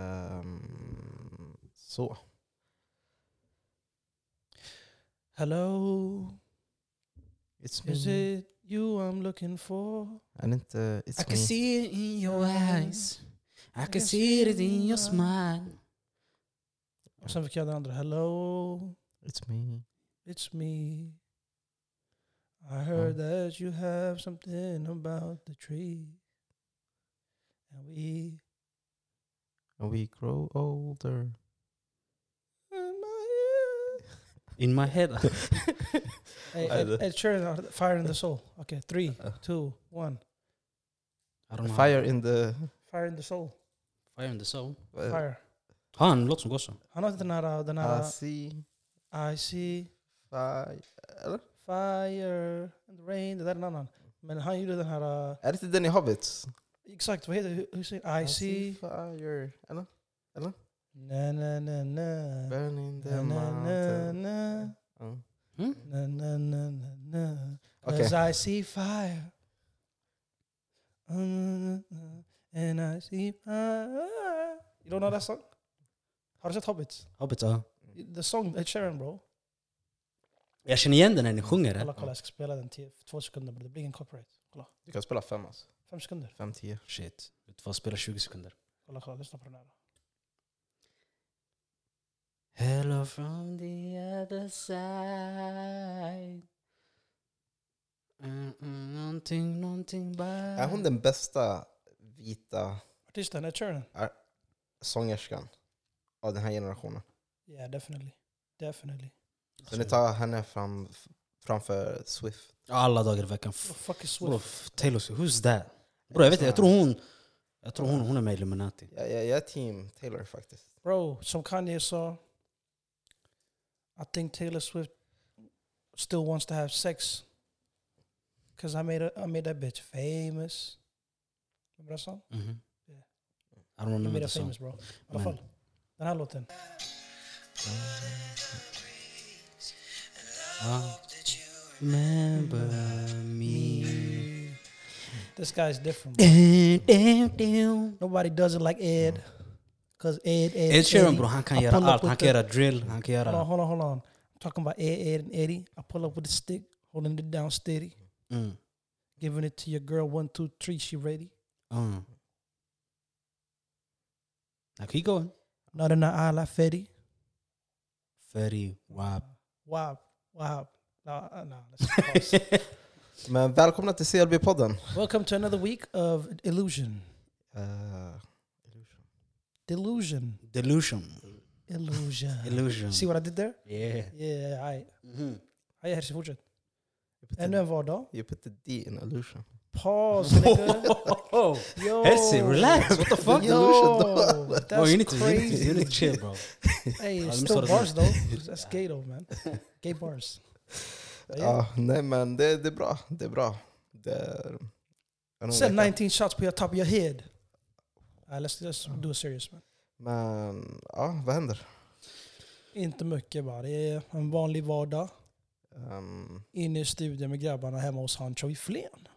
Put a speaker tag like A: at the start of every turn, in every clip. A: Ehm, Så.
B: Hello,
A: It's
B: is
A: me.
B: it you I'm looking for?
A: And inte
B: I
A: it's
B: can
A: me.
B: see it in your eyes. I can see it in your smile. Och sen fick jag den andra. Hello,
A: It's me.
B: it's me. I heard that you have something about the tree. And we...
A: And we grow older.
C: In my head.
B: Hey, Ed, Ed Sheeran, har Fire in the Soul. Okej, three, two, one.
C: I don't know.
A: Fire in the...
B: Fire in the Soul.
C: Fire in the soul.
A: eh,
B: Fire.
C: Har han en låt som går så?
B: Han har inte den här... äh, Den här
A: I see
B: I see
A: fire. Eller?
B: fire and rain. Det där är en annan. Men han gjorde den här... uh,
A: Är det inte den i Hobbit?
B: Exakt, vad heter hur- hur säger I, see...
A: fire. Eller?
B: Na, na, na, na.
A: Burning the
B: Na, na, na,
A: mountain.
B: na.
A: Mm.
C: Mm?
B: Na, na, na, na, na.
A: Okej.
B: 'Cause I see fire. Uh, uh, uh, And I see fire. You don't know that song? Har du sett Hobbit?
C: Hobbit, ja.
B: The song, Ed Sheeran bro.
C: Jag känner igen den när ni sjunger
B: Kolla,
C: den.
B: kolla, jag ska spela den till två sekunder. bro. Det blir ingen copyright. Kolla,
A: Du kan spela fem alltså.
B: fem sekunder.
A: Fem, tio.
C: Oh, Shit. Du får spela 20 sekunder.
B: Kolla, kolla, lyssna på den här.
C: Hello from the other side. Mm, mm, någonting, någonting bara.
A: Är hon den bästa vita
B: Artisten Ed Sheeran?
A: sångerskan av den här generationen?
B: Yeah, definitely. Definitely.
A: Så ni tar henne fram, framför Swift?
C: Alla dagar i veckan.
B: What the Oh, fuck is
C: Bro,
B: Swift?
C: f- Taylor Swift, who's that? Bro, jag vet inte, jag tror hon... Jag tror hon, hon är med i Illuminati.
A: Jag, jag, jag är team Taylor faktiskt.
B: Bro, som Kanye sa, I think Taylor Swift still wants to have sex. Cause I made, a, I made that bitch famous. Remember that song?
C: Mhm.
B: Yeah.
C: I don't
B: You
C: remember
B: made
C: the
B: her
C: song.
B: famous bro. I alla fall, den här låten.
C: Ja. Remember me.
B: This guy's different. bro.
C: Damn, damn, damn.
B: Nobody does it like
C: Mm.
B: Ed. Cause Ed, Ed,
C: Ed Sheeran
B: Eddie.
C: bro, han kan
B: I
C: göra
B: pull up
C: allt. Han
B: with
C: kan
B: the-
C: göra drill, han kan
B: Hold on,
C: göra...
B: hold on, hold on. I'm talking about Ed, Ed, and Eddie. I pull up with a stick, holding it down steady.
C: Mm.
B: Giving it to your girl, one, two, three, she ready.
C: Mm. Now keep going.
B: Not in the eye like Fetty.
C: Fetty Wap.
B: Wow, wow. No, uh, no. That's false.
A: Men välkomna till CLB-podden.
B: Welcome to another week of illusion,
A: Eh,
B: delusion,
C: Delusion.
B: illusion.
C: Illusion.
B: See what Mm-hmm. I did there?
C: Yeah.
B: Yeah, I.
C: Mhm.
B: I hear fortsätt.
A: you put
B: Ännu
A: the-
B: en vardag.
A: you put the D in illusion.
B: Paus, nigga. Yo.
C: Hesse, relax. What the fuck?
A: Yo.
B: Yo,
A: Bro,
C: Bro, you
B: that's
C: need to, you need to, you need
B: crazy.
C: to chill bro.
B: Hey,
C: me
B: it's still
C: start it
B: bars though. That's gay though, man. Gay bars.
C: Uh,
B: But yeah.
A: Ja, nej men det, det är bra. Det är bra. Det är en
B: Said
A: olika.
B: 19 shots per top of your head. Alright, let's, let's do it serious man.
A: Men ja, vad händer?
B: Inte mycket bara. Det är en vanlig vardag.
A: Ehm,
B: Inne i studion med grabbarna hemma hos Hancho i Flen.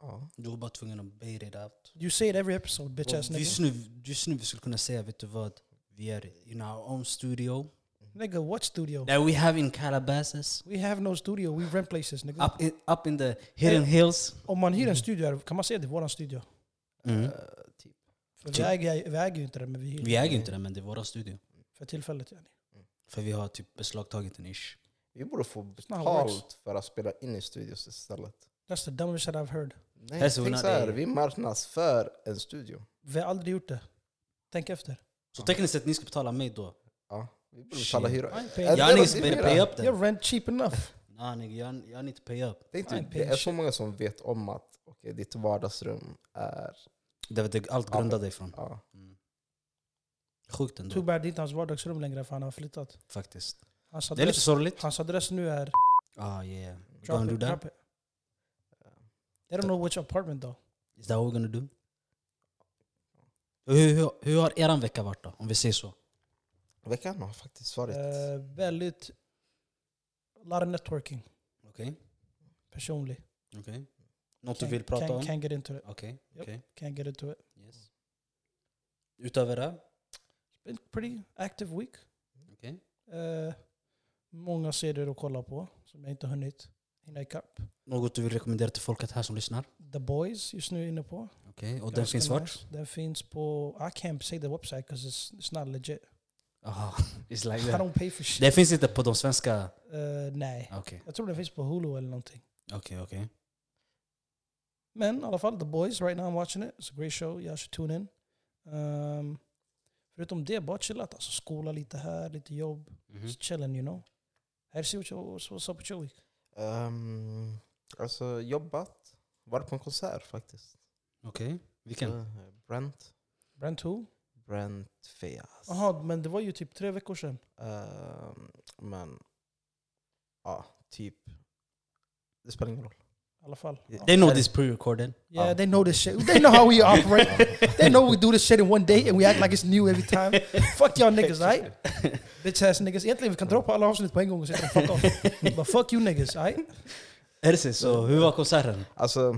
A: ja.
C: Du var bara tvungen att bait it out.
B: You say it every episode, bitch ass
C: Och
B: nigga.
C: Just nu, just nu vi skulle kunna säga, vet du vad? Vi är in our own studio.
B: Nigga, what studio?
C: That we have in Calabasas.
B: We have no studio, we rent places nigga.
C: Up in, up in the
A: Eh.
C: hidden hills.
B: Om man hyr en studio här, kan man säga att det är våran studio?
C: Mm.
A: Eh, typ.
B: För vi,
C: Typ.
B: äger, vi äger ju inte den, men vi hyr
C: Vi äger ju inte den men det är våra studio.
B: för tillfället. Yani.
C: För vi har typ beslagtagit en ish.
A: Vi borde få
B: not how it works.
A: betalt för att spela in i studios istället.
B: That's the dumbest shit I've heard.
A: Nej,
C: Hesse,
A: tänk
C: hon
A: så
C: är-
A: här, vi marknadsför en studio.
B: Vi har aldrig gjort det. Tänk efter.
C: Så tekniskt sett, ni ska betala mig då.
A: Ja, vi borde betala
C: Shit.
A: hyra.
B: I ain't
A: Är
B: paying-
A: det
C: Jag
A: vad
C: need
A: ni
C: better
A: menar?
C: pay up den.
B: Your rent cheap enough.
C: Nah, nigga, jag, jag need to pay up.
A: Tänk
B: Nej,
A: dig, det är så
B: shit.
A: många som vet om att okay, ditt vardagsrum är...
C: Det var det allt
A: Ja,
C: grundade ifrån.
A: Ja.
C: Mm. Sjukt
B: Too
C: ändå
B: bad det inte är hans vardagsrum längre för han har flyttat.
C: faktiskt.
B: Hans
C: Det är lite
B: adress,
C: sorgligt.
B: hans adress nu är...
C: Ah yeah. We're
B: Drop
C: gonna do
B: it,
C: that?
B: drop it. They don't know which apartment though.
C: Is that what we're gonna do? Hur, hur, hur har eran vecka varit då? Om vi säger så.
A: Veckan har faktiskt varit...
B: Eh, väldigt... A lot of networking,
C: Okej?
B: personlig.
C: Okej? Något du vill prata
B: can,
C: om?
B: Can't get into it.
C: Okej,
B: Yep.
C: okej.
B: Can't get into it.
C: Yes. Utöver det?
B: Been pretty active week. Eh, många serier att kolla på som jag inte hunnit hinna ikapp.
C: Något du vill rekommendera till folket här som lyssnar?
B: The Boys just nu är jag inne på.
C: Okej, och den
B: Ganska
C: finns vart?
B: nice. Den finns på... I can't say the website because it's, it's not legit.
C: Jaha, it's like
B: I
C: that.
B: don't pay for shit.
C: Den finns inte på de svenska?
B: Eh, nej.
C: Okej,
B: Jag tror den finns på Hulu eller någonting.
C: okej, okej.
B: Men i alla fall, The Boys, right now I'm watching it. It's a great show. Y'all should tune in. Ehm, förutom det, bara chillat. Alltså skola lite här, lite jobb.
C: Mhm.
B: Just chilling, you know. Hersi, what you- what's what's up with your week?
A: Ehm, alltså jobbat. Varit på en konsert faktiskt.
C: Okej, vilken?
A: Eh, Brent.
B: Brand 2?
A: Brent Feas.
B: Jaha, men det var ju typ tre veckor sedan.
A: Ehm, men ja, typ. Det spelar ingen roll.
B: I alla fall.
A: Ja.
C: They know
A: Är det-
C: this pre-recorded.
B: Yeah,
A: Ja.
B: they know this shit. They know how we operate. they know we do this shit in one day and we act like it's new every time. fuck y'all niggas, right? Bitch ass niggas. Egentligen vi kan droppa alla avsnitt på en gång och säga fuck off. But fuck you niggas, right?
C: Är det så? så? Hur var konserten?
A: Alltså,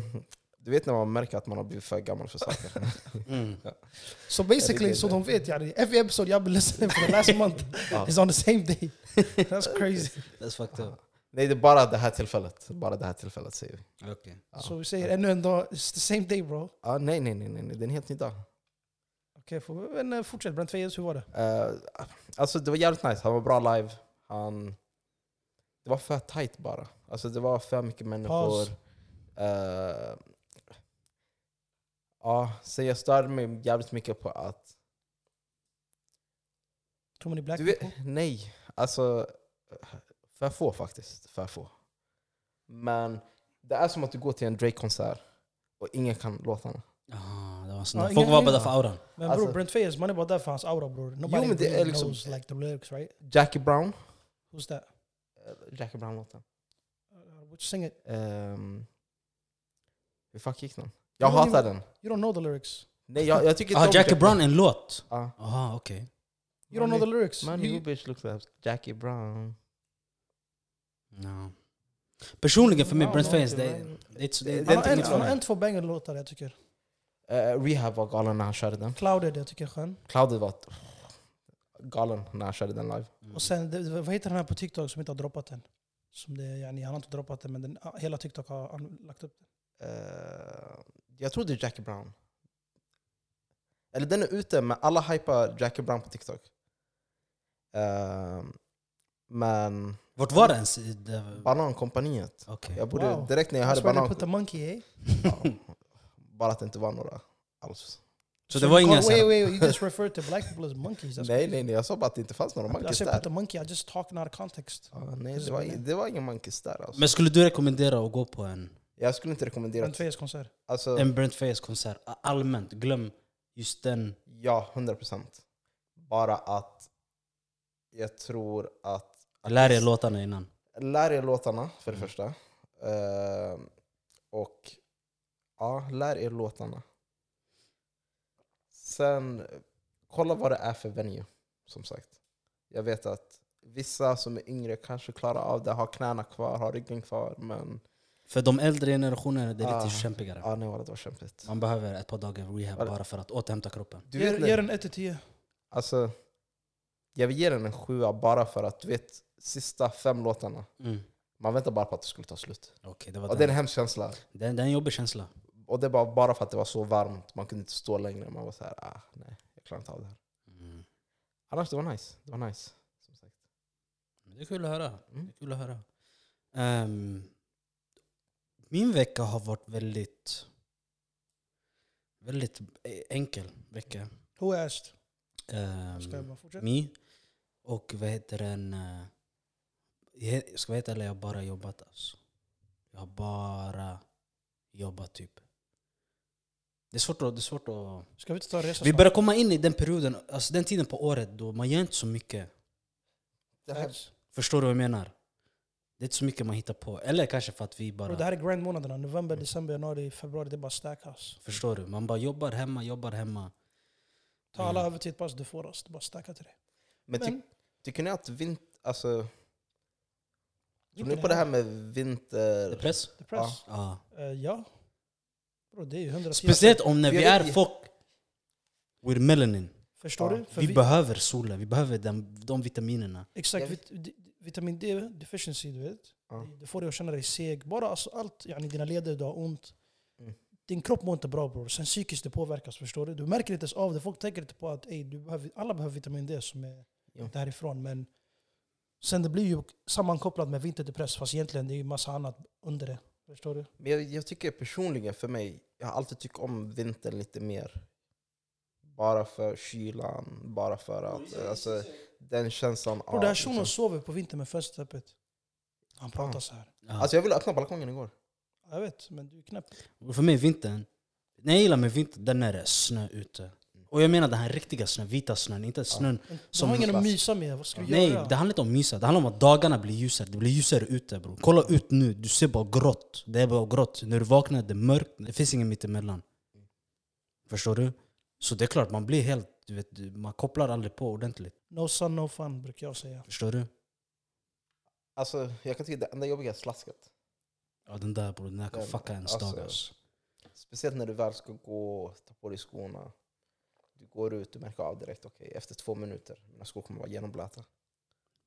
A: du vet när man märker att man har blivit för gammal för saker.
C: Mm.
B: So basically, så de vet yani. Every episode jag been listening for the last month
A: Ja.
B: is on the same day. That's crazy.
C: That's fucked up.
A: Nej, det är bara det här tillfället. Bara det här tillfället säger vi.
C: Okej.
A: Ja.
B: Så vi säger ännu en dag, it's the same day bro.
A: Ja, nej, nej, nej, nej, nej, det är en helt ny dag.
B: Okej, okay, men eh, fortsätt. Brent Feyes, hur var det?
A: Eh, alltså det var jävligt nice, han var bra live. Han, det var för tight bara. Alltså det var för mycket människor.
B: Paus.
A: Eh, ja, så jag störde mig jävligt mycket på att...
B: Too many black
A: Du vet,
B: people?
A: nej, alltså för få faktiskt. För få. Men det är som att du går till en Drake-konsert och ingen kan låtarna.
C: Ah, det var
B: Ja,
C: sån.
B: ingen
C: Folk var
B: aning.
C: bara där för auran.
B: Men
A: alltså-
B: bror, Brent Feyes, man är bara där för hans aura bror. Nobody
A: men det är
B: really
A: liksom-
B: knows like the lyrics right?
A: Jackie Brown.
B: Who's that?
A: eh, Jackie Brown-låten.
B: Uh, which sing it?
A: Um, hur fuck gick den? Jag
B: Ja, men
A: hatar
B: det-
A: den.
B: You don't know the lyrics.
A: Nej, jag, jag tycker
C: Ah,
A: om
C: Jackie Brown, en låt?
A: Ja.
C: Jaha, okej.
B: You don't know the lyrics.
A: Money, who
B: You,
A: bitch looks like Jackie Brown.
C: Ja. Personligen för mig,
B: Ja,
C: Brent
B: någonting
C: Fayez, det är
A: där.
C: det är inte- det är
A: Det-
C: inte
B: han har en-
C: inget för
B: han har en
C: mig.
B: två banger-låtar jag tycker.
A: Eh, Rehab var galen när han körde den.
B: Clouded jag tycker är skön.
A: Cloudy var galen när han körde den live.
C: Mm.
B: Och sen, det- vad heter den här på TikTok som inte har droppat den? Som det, yani, han har inte droppat den men den, hela TikTok har han lagt upp den.
A: Eh, jag tror det är Jackie Brown. Eller den är ute, men alla hypar Jackie Brown på TikTok. Eh, men
C: Vart var det ens? i det-
A: Banankompaniet.
C: Okej.
A: Jag borde,
B: Wow.
A: Direkt när jag hörde
B: That's why they
A: Banan...
B: put the monkey eh?
A: Ja, bara att det inte var några alls.
C: Så det var inga
B: Oh,
C: så
B: wait,
C: här-
B: wait, wait, you just referred to black people as monkeys. That's
A: Nej,
B: crazy.
A: nej, nej. Jag sa bara att det inte fanns några
B: I
A: monkeys
B: said put the
A: där.
B: monkey, I just talking out of context.
A: Ja, nej, det var, det var ingen monkeys där. Alltså.
C: Men skulle du rekommendera att gå på en,
A: Jag skulle inte rekommendera...
B: Brent Feyes konsert.
A: Alltså,
C: en Brent Fayez konsert? Allmänt, glöm just den.
A: Ja, 100 procent. Bara att jag tror att...
C: Lär er låtarna innan.
A: Lär er låtarna, för det
C: Mm.
A: första. Ehm, och ja, lär er låtarna. Sen, eh, kolla vad det är för venue, som sagt. Jag vet att vissa som är yngre kanske klarar av det, har knäna kvar, har ryggen kvar, men...
C: För de äldre generationerna det är
A: Ah.
C: lite kämpigare.
A: Ja, nej, det var kämpigt.
C: Man behöver ett par dagar rehab
A: Var det-
C: bara för att återhämta kroppen.
A: Du
B: Ge
A: vet,
B: ge
A: när-
B: den 1-10.
A: alltså, jag vill ge den en sjua bara för att du vet, sista fem låtarna
C: Mm.
A: Man väntar bara på att det skulle ta slut.
C: Okej, det var
A: Och det är
C: den.
A: en hemsk känsla.
C: Det, är, det är en jobbig känsla.
A: Och det var bara för att det var så varmt, man kunde inte stå längre. Man var så här, ah, nej, jag klarar inte av det här.
C: Mm.
A: Annars det var nice. Det var nice. Som sagt.
C: Det är kul att höra.
A: Mm.
C: Det är kul att höra. Ehm, min vecka har varit väldigt väldigt eh, enkel vecka.
B: Who asked?
C: Ehm,
B: Ska jag bara fortsätta?
C: Mi. Och vad heter den? eh, Jag jag ska vara helt ärlig, jag har bara jobbat alltså. Jag har bara jobbat typ. Det är svårt att... Det är svårt att
B: Ska vi inte ta en resa
C: vi
B: snart?
C: börjar komma in i den perioden, alltså den tiden på året då man gör inte så mycket.
A: Det här,
B: Thanks.
C: Förstår du vad jag menar? Det är inte så mycket man hittar på. Eller kanske för att vi bara...
B: Bro, Det här är grand månaderna.
C: Mm.
B: November, december, januari, februari. Det är bara stackhouse.
C: Förstår du? Man bara jobbar hemma, jobbar hemma.
B: Ta
C: Mm.
B: alla övertidspass du får oss. Det är bara stacka till dig.
A: men ty,
B: Men-
A: tycker ni att vinter... Alltså, tror ni
B: Inte
A: på det här med
C: Det är
A: vinter...
C: press?
B: Depress?
C: Ja.
B: Eh, ja. Bro, det är ju hundra
C: Speciellt om när
A: Typ- Vi
C: vi
A: har-
C: är folk with melanin.
B: Förstår
A: Ja,
B: du? För
C: Vi
B: vi-
C: behöver solen, vi behöver den, de vitaminerna.
B: Exakt,
A: Jag
B: vit, di- vitamin D deficiency, du vet.
A: Ja.
B: Det får dig att känna dig seg. Bara alltså allt, yani dina leder, du har ont.
A: Mm.
B: Din kropp mår inte bra bror. Sen psykiskt det påverkas, förstår du? Du märker inte ens av det. Folk tänker inte på att ey, du behöver, alla behöver vitamin D som är
A: Ja.
B: därifrån. Men sen det blir ju sammankopplat med vinterdepress, fast egentligen det är ju massa annat under det. Förstår du?
A: Men jag, jag tycker personligen för mig, jag har alltid tyckt om vintern lite mer. Bara för kylan, bara för att... Alltså, den känslan
B: Bror, den här
A: liksom.
B: shunon sover på vintern med fönstret öppet. Han pratar
A: Fan.
B: så här.
C: Ja.
A: Alltså jag ville öppna balkongen igår.
B: Jag vet, men du är knäpp.
C: Och För mig är vintern, när jag gillar med vintern, den när det är snö ute. Och jag menar den här riktiga snön, vita snön, inte snön.
B: Du
C: Som
B: har ingen att
A: fast-
B: mysa med. Vad ska du
C: Nej,
B: göra?
C: det handlar inte om mysa. Det handlar om att dagarna blir ljusare. Det blir ljusare ute bro. Kolla ut nu, du ser bara grått. Det är bara grått. När du vaknar det är mörkt, det finns inget mittemellan. Förstår du? Så det är klart, man blir helt, du vet, du- man kopplar aldrig på ordentligt.
B: No sun, no fun, brukar jag säga.
C: Förstår du?
A: Alltså jag kan tycka det enda jobbiga är slasket.
C: Ja den där bror, den där kan
A: Den-
C: fucka ens
A: alltså.
C: dag alltså.
A: Speciellt när du väl ska gå, ta på dig skorna. Du går ut, du märker av direkt, okej efter två minuter, mina skor kommer vara genomblöta.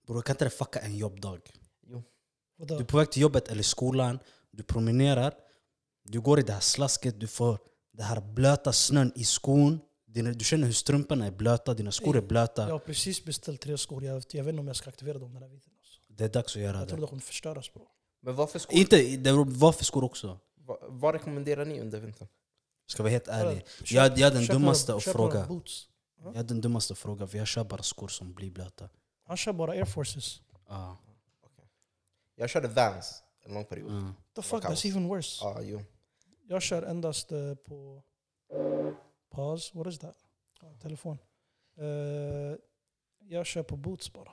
C: Bror kan inte det fucka en jobbdag?
B: Vadå?
C: Du är på väg till jobbet eller skolan, du promenerar, du går i det här slasket, du får den här blöta snön i skon. Dina- Du känner hur strumporna är blöta, dina skor är blöta.
B: Jag har precis beställt tre skor. Jag, jag vet inte om jag ska aktivera dem den här vintern. Alltså.
C: Det är dags att göra
B: Jag tror
C: det.
B: de kommer förstöras bro.
A: Men vad för skor,
C: Inte, det var för skor också.
A: vad, vad rekommenderar ni under vintern?
C: Ska vara helt ärlig.
B: Köp-
C: Jag, jag är den
B: köp
C: dummaste
B: några-
C: att
B: köp några
C: fråga.
B: Boots.
C: Jag är den dummaste att fråga, för jag kör bara skor som blir blöta.
B: Han kör bara air forces.
C: Ja.
A: Jag körde Vans en lång period.
C: Mm.
B: The fuck,
A: kaos.
B: that's even worse.
A: Ja, jo.
B: Jag kör endast eh, på... Pause, what is that? Ja, telefon. Eh, jag kör på boots bara.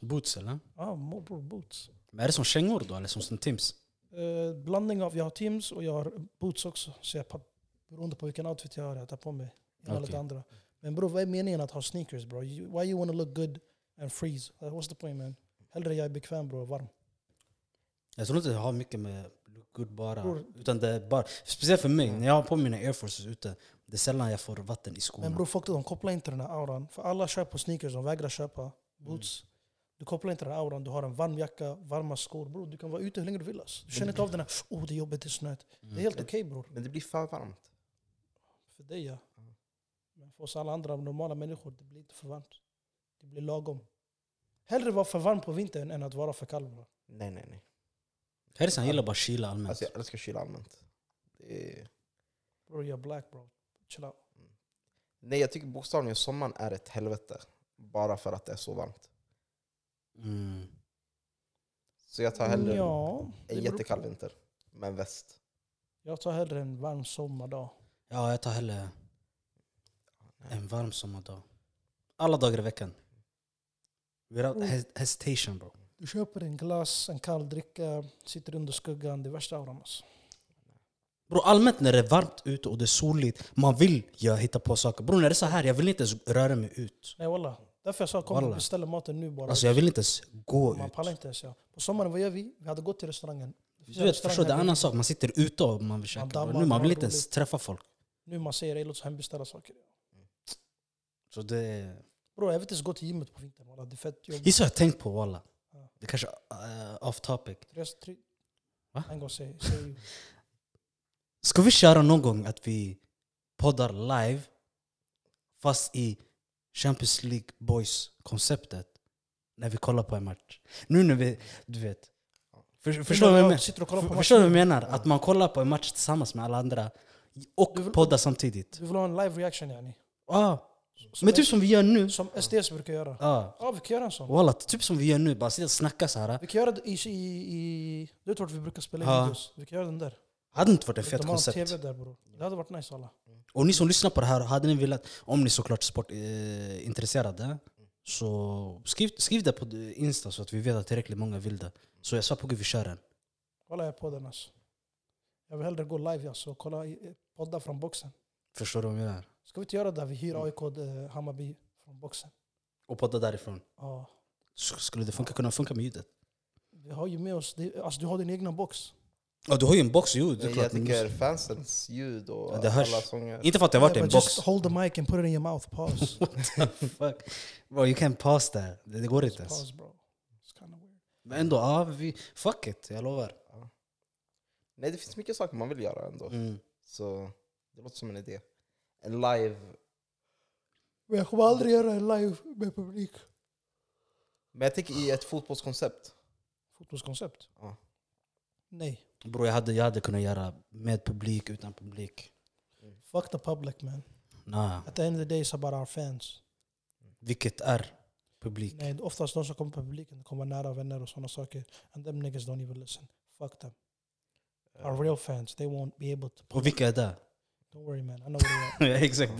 C: Boots eller?
B: Ah, mo- bro, boots.
C: Men är det som kängor då, eller som, som Tims?
B: Eh, blandning av, jag har Teams och jag har boots också. Så jag, pa- beroende på vilken outfit jag har, jag tar på mig ena eller det
C: Okej.
B: andra. Men bror, vad är meningen att ha sneakers bro? You, why you wanna look good and freeze? Like, what's the point man? Hellre jag är bekväm bror, varm.
C: Jag tror inte det har mycket med look good bara.
B: Bror.
C: Utan det är bara, speciellt för mig, när jag har på mina air forces ute, det är sällan jag får vatten i
B: Men
C: skorna.
B: bror, folk de kopplar inte den här auran. För alla köper sneakers, de vägrar köpa boots. Du kopplar inte den här auran, du har en varm jacka, varma skor. Bror, du kan vara ute hur länge du vill. Alltså. Du känner inte av den här, oh det är jobbigt, det är snöigt. Det är helt okej bror.
A: Men det blir för varmt.
B: För dig ja. Men för oss alla andra normala människor, det blir inte för varmt. Det blir lagom. Hellre vara för varm på vintern än att vara för kall. bro.
A: Nej, nej, nej.
C: Harris han gillar bara kyla allmänt.
A: Alltså jag älskar kyla allmänt. Det är...
B: Bro, you're black bro. Chill out.
A: Nej, jag tycker bokstavligen sommaren är ett helvete. Bara för att det är så varmt.
C: Mm.
A: Så jag tar hellre
B: Ja, det
A: en
B: beror
A: jättekall
B: på.
A: vinter med en väst.
B: Jag tar hellre en varm sommardag.
C: Ja, jag tar hellre en varm sommardag. Alla dagar i veckan. Without
B: Mm.
C: hes- hesitation bro.
B: Du köper en glass, en kall dricka, sitter under skuggan. Det är värsta auran alltså.
C: Bro, allmänt när det är varmt ute och det är soligt, man vill ja, hitta på saker. Bro, när det är så här, jag vill inte ens röra mig ut.
B: Nej walla. Därför jag sa kom och
C: Wallah.
B: beställ maten nu bara.
C: Alltså jag vill inte ens gå
B: Man
C: ut.
B: pallar inte ens ja. På sommaren, vad gör vi? Vi hade gått till restaurangen. Det finns
C: Du vet,
B: restaurang
C: förstår, det är
B: här
C: en
B: nu.
C: annan sak. Man sitter ute och man vill käka.
B: dammar,
C: bro. Nu man
B: man
C: vill
B: har
C: inte ens
B: roligt.
C: träffa folk.
B: Nu man säger ej låt oss hembeställa saker.
C: Så det är...
B: Bro, jag vill inte ens gå till gymmet på vintern. walla. Det är fett jobbigt.
C: Gissa vad jag tänkt på walla.
B: Ja.
C: Det kanske är off topic.
B: Tres, tre.
C: Va?
B: En gång säger säg.
C: Ska vi köra någon gång att vi poddar live fast i Champions League Boys-konceptet när vi kollar på en match? Nu när vi, du vet. För, förstår du vad jag menar?
B: Sitter och kollar på
C: För-
B: matchen.
C: Förstår du vad jag menar? Att man kollar på en match tillsammans med alla andra
B: Du vill-
C: och poddar samtidigt.
B: Du vill ha en live reaction yani?
C: Ah,
B: Som
C: men typ som vi gör nu.
B: Som STS brukar göra.
C: Ah,
B: Ja, vi kan göra en sån.
C: walla, typ som vi gör nu, bara sitta och snacka så här.
B: Vi kan göra det i... i, i du vet vart vi brukar spela in
C: Ja.
B: videos? Vi kan göra den där.
C: Hade inte varit ett
B: De har
C: fett
B: en
C: koncept.
B: TV där bror. Det hade varit nice alla.
C: Och ni som lyssnar på det här, hade ni velat, om ni såklart sportintresserade, så skriv, skriv det på Insta så att vi vet att tillräckligt många vill det. Så jag svär på gud vi kör den.
B: Kolla jag på den alltså. Jag vill hellre gå live alltså. Kolla i- podda från boxen.
C: Förstår du vad jag menar?
B: Ska vi inte göra det? Vi hyr AIK eh, Hammarby från boxen.
C: Och podda därifrån.
B: Ja.
C: S- Skulle det funka, kunna funka med ljudet?
B: Vi har ju med oss... det- Alltså du har din egna box.
C: Ja, du har ju en box ljud, det är klart.
A: Jag
C: men du
A: tycker
C: måste-
A: fansens ljud och
C: Ja, det hörs.
A: alla sånger.
C: Inte för att det har
B: Yeah,
C: varit en
B: but
C: box.
B: just hold the mic and put it in your mouth. Pause.
C: Fuck. Bro, you can't pass that. Det, det går inte ens.
B: Pause, bro. It's kind of weird.
C: Men ändå, ja, vi, fuck it. Jag lovar.
A: Nej, det finns mycket saker man vill göra ändå.
C: Mm.
A: Så det låter som en idé. En live...
B: Men jag kommer aldrig göra en live med publik.
A: Men jag tänker i ett fotbollskoncept.
B: Fotbollskoncept?
A: Ja.
B: Nej.
C: Bro, jag hade, jag hade kunnat göra med publik, utan publik.
B: Fuck the public man.
C: Nah.
B: At the end of the day it's about our fans.
C: Vilket är publik?
B: Nej, oftast de som kommer på publiken de kommer nära vänner och sådana saker. And them niggas don't even listen. Fuck them. Our real fans, they won't be able to...
C: Och vilka är det?
B: Don't worry man, I know where they are.
C: Ja, Exakt,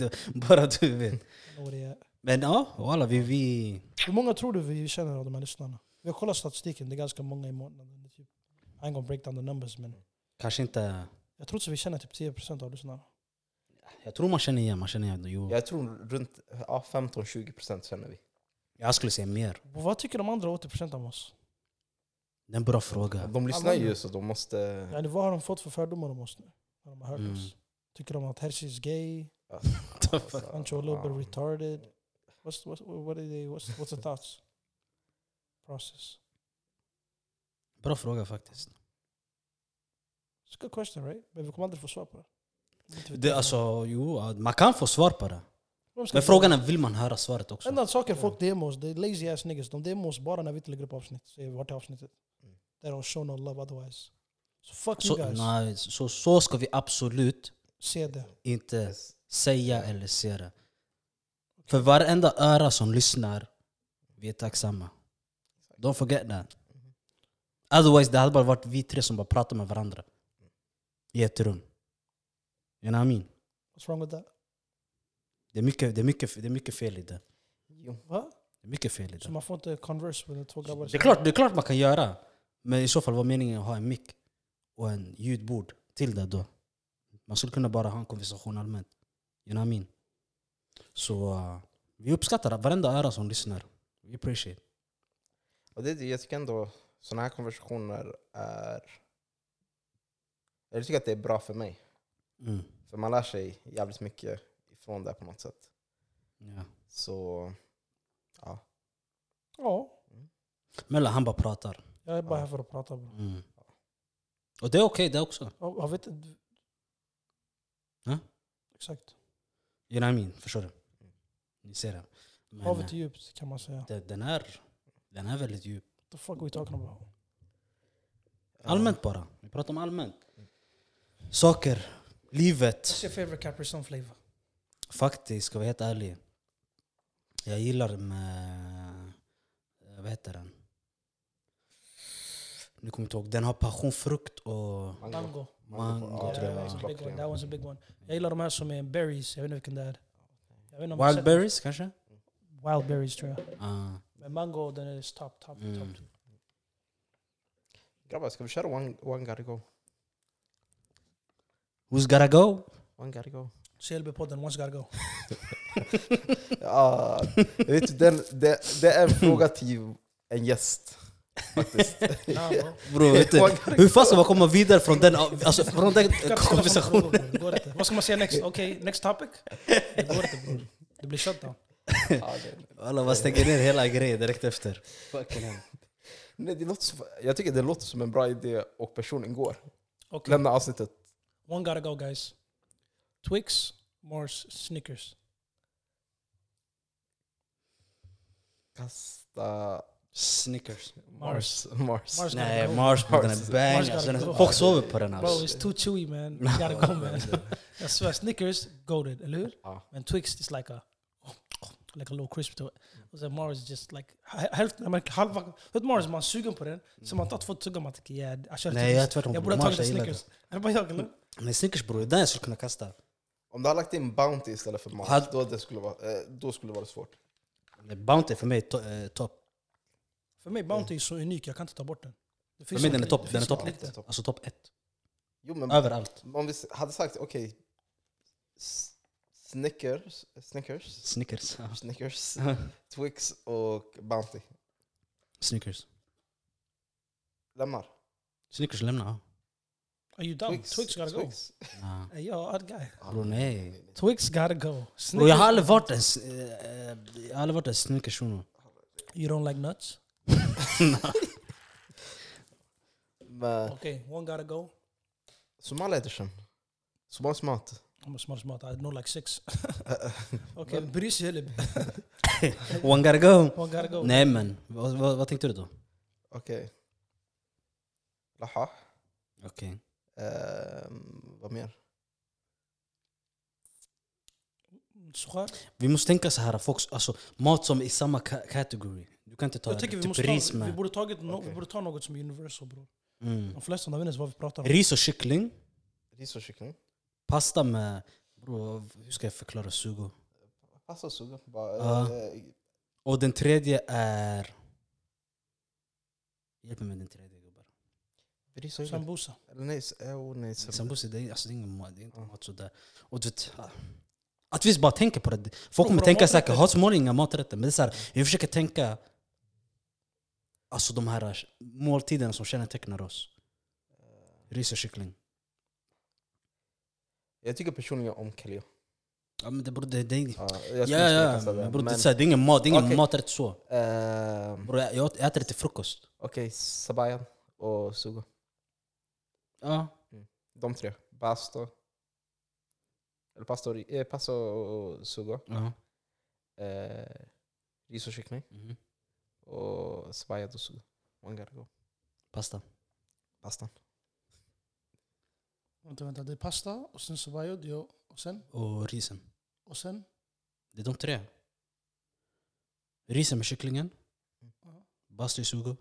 C: bara du vet.
B: I know where they are.
C: Men ja, alla vi, vi...
B: Hur många tror du vi känner av de här lyssnarna? Vi har kollat statistiken, det är ganska många i månaden. Det är Typ, I ain't gonna break down the numbers men
C: Kanske inte...
B: jag tror att vi känner typ 10% av lyssnarna.
C: Jag tror man känner igen, man känner igen. Jo.
A: Jag tror runt ja, 15-20% känner vi.
C: Jag skulle säga mer.
B: Och vad tycker de andra 80% om oss?
C: Det är en bra fråga.
A: De lyssnar
B: Alla-
A: ju så de måste...
B: Ja, vad har de fått för fördomar om oss nu? När de har hört
C: Mm.
B: oss? Tycker de att Hershey is gay?
A: Alltså,
B: Aren't you a little bit
A: ja.
B: retarded? What's, what's, what are they, what's, what's the thoughts? Process.
C: Bra fråga faktiskt.
B: It's a good question right? Men vi kommer aldrig få svar på det. Inte vet
C: Det,
B: jag.
C: alltså, jo, ja, man kan få svar på det.
B: Vem ska
C: Men
B: vi-
C: frågan är, vill man höra svaret också?
B: Enda saken folk DMar oss, det är lazy ass niggas. De DMar oss bara när vi lägger upp avsnitt. Säger vart är avsnittet?
A: Mm.
B: They don't show no love otherwise. Så fuck
C: Så,
B: you guys.
C: nej, så, så ska vi absolut
B: Se det.
C: inte
A: Yes.
C: säga eller se det. För varenda öra som lyssnar, vi är tacksamma. Don't forget that. Otherwise, det hade bara varit vi tre som bara pratade med varandra. I ett rum. You know what I mean?
B: What's wrong with that?
C: Det är mycket, det är mycket, det är mycket fel i det.
A: Jo.
B: Va?
C: Det är mycket fel i
B: Så
C: det.
B: man får inte converse med två grabbar?
C: Det är, klart, det är klart man kan göra. Men i så fall var meningen att ha en mick och en ljudbord till det då. Man skulle kunna bara ha en konversation allmänt. You know what I mean? Så uh, vi uppskattar varenda öra som lyssnar. We appreciate.
A: Och det, jag tycker ändå sådana här konversationer är... Jag tycker att det är bra för mig.
C: Mm.
A: För man lär sig jävligt mycket ifrån det här på något sätt.
C: Ja.
A: Så
B: Ja,
C: Mella han bara pratar.
B: jag är bara
A: Ja.
B: här för att prata bro.
C: Mm. Och det är okej det också.
B: Jag jag vet inte...
C: Ja.
B: Exakt.
C: You know what I mean? Förstår du? Ni ser det. Men,
B: Havet
C: eh,
B: är djupt kan man säga.
C: det- den, är, den är väldigt djup.
B: The fuck are we talking about?
A: eh,
C: Allmänt bara. Vi pratar om allmänt. Saker. Livet.
B: What's your favorite Capri Sun flavor?
C: Faktiskt, ska jag vara helt ärlig. Jag gillar med... eh, Vad heter den? Nu kommer jag inte ihåg. Den har passionfrukt och...
B: Mango.
C: Mango,
A: Ja,
B: Yeah,
C: tror
A: det
C: jag.
A: är klockren.
B: that was a big one, that was a big one. Jag gillar de här som är berries, jag vet inte vilken det är. Jag vet inte om jag
C: Wild
B: sett-
C: berries kanske?
B: Wild berries tror jag.
C: Ah,
B: Men mango den är top, top,
C: Mm.
B: top. two.
A: Grabbar, ska vi köra One, one Gotta Go?
C: who's gotta go?
A: One Gotta Go.
B: CLB-podden, once gotta go.
A: Ja, jag vet, du, den, det, det är en fråga till en gäst. Faktiskt.
B: Nah, bro.
C: Bro, vet du,
A: One gotta
C: hur fan ska man komma vidare från den, alltså, från
B: Kan
C: den
B: inte ställa sådana
C: konversationen?
B: frågor, bro. Det går inte. Vad ska man säga next? Okej, next topic? Det går inte bror. Det blir shutdown.
A: Ja, det-
C: Alla man stänger ner hela grejen direkt efter. Fucking hell.
A: Nej, det låter som, jag tycker det låter som en bra idé och personen går.
B: Okej,
A: Lämna avsnittet.
B: one gotta go guys. Twix, Mars, Snickers.
A: Kasta
C: Snickers.
A: Mars. Mars.
B: Mars gotta
C: Nej,
B: go.
C: Mars bro, den
A: Mars gotta
C: är bang.
B: go.
C: Alltså, den- folk sover på den
B: Bro,
C: alltså.
B: it's too chewy man. You gotta go man. Ah. Jag svär, Snickers, goated, eller hur?
A: Ja.
B: Men Twix is like a like a little crisp to it. Och sen Mars is just like, hä- hälften, man, halva, vet Mars, man är sugen på den, så man tar två tuggar man tycker Mm. yeah, I should
C: Nej, jag är tvärtom.
B: jag borde ha
C: Mars,
B: tagit
C: jag
B: en
C: gillar
B: Snickers. Är det bara jag eller?
C: Men Snickers bror, den jag skulle kunna kasta.
A: Om du hade lagt in Bounty istället för Mars,
C: Hade-
A: då, det skulle vara, eh, då skulle det vara svårt.
C: Bounty för mig är to- eh, topp.
B: För mig Bounty är så unik, jag kan inte ta bort den. Det
C: För mig den är
B: inte-
C: topp,
B: det
C: den är
B: finns
C: topp.
B: inte lite.
A: topp.
C: Alltså topp ett.
A: Jo, men
C: Överallt.
A: om vi s- hade sagt okej, s- Snickers, Snickers,
C: Snickers. Ja.
A: Snickers, Twix och Bounty.
C: Snickers.
A: Lämnar.
C: Snickers lämnar. ja.
B: Are you dumb? Twix, gotta
A: Twix.
C: Nah.
B: go. Hey, yo, odd guy.
C: Bror Ah. nej.
B: Twix gotta go.
C: Bror jag har
B: Snickers.
C: aldrig varit en, s- eh, eh, jag har aldrig varit en sneaker shuno.
B: You don't like nuts?
A: Men
B: Okay, one gotta go.
A: Somalia Uh, edition. Somalisk mat.
B: I'm a smart smart. I know like six. okay, bryr sig heller.
C: One gotta go.
B: One gotta go.
C: Nej men, vad, vad, vad tänkte du då?
A: Okej. Laha.
C: Okej.
A: Ehm, vad mer?
B: Sukhar?
C: Vi måste tänka så här, folk, alltså, mat som är i samma ka- category. Du kan inte ta
B: Jag tycker vi
C: typ
B: måste
C: ris
B: ta, vi
C: med.
B: borde, tagit no, vi
A: Okej.
B: borde ta något som är universal bror.
C: Mm.
B: De flesta de vet inte ens vad vi pratar om.
C: Ris och kyckling.
A: Ris och kyckling.
C: Pasta med... Bro, hur ska jag förklara sugo?
A: Pasta och sugo. Bara,
B: Ah.
C: Ja.
A: eh,
C: Och den tredje är... Hjälp mig med den tredje gubbar.
A: ris och kyckling.
B: Sambusa.
A: Eller nej, s- eh, oh, nej. sam-
C: Sambusi, det är, alltså, det är ingen mat, det är inte
A: Ja.
C: mat sådär. Och du vet, ah, att vi bara tänker på det. Folk kommer
B: våra
C: tänka säkert,
B: maträtter-
C: hatmål är inga maträtter. Men det är så här, vi försöker tänka... Alltså de här måltiderna som kännetecknar oss.
A: Uh,
C: Ris och kyckling.
A: Jag tycker personligen om Uh, kalio.
C: Ja men det borde... Det, det,
A: Ja,
C: ja,
A: jag skulle inte
C: ja,
A: kasta
C: ja.
A: det,
C: Bro, det, är
A: men-
C: så här, det är ingen mat, det är ingen
A: Okej.
C: maträtt så.
A: Ehm,
C: Bro, jag, jag åt- jag äter det till frukost.
A: Okej, sabayan och sugo.
C: Ja.
A: De tre. Pasta. Eller pasta och, ri- eh, pasta och sugo.
C: ja.
A: Eh, ris och kyckling.
C: Mhm.
A: Och sabayan och sugo. One gotta go.
C: Pasta.
A: Pastan.
B: Vänta, vänta. Det är pasta och sen sobayo. det är- Och sen?
C: Och risen.
B: Och sen?
C: Det är de tre. Risen med kycklingen.
B: Ja.
C: Bastu i sugo.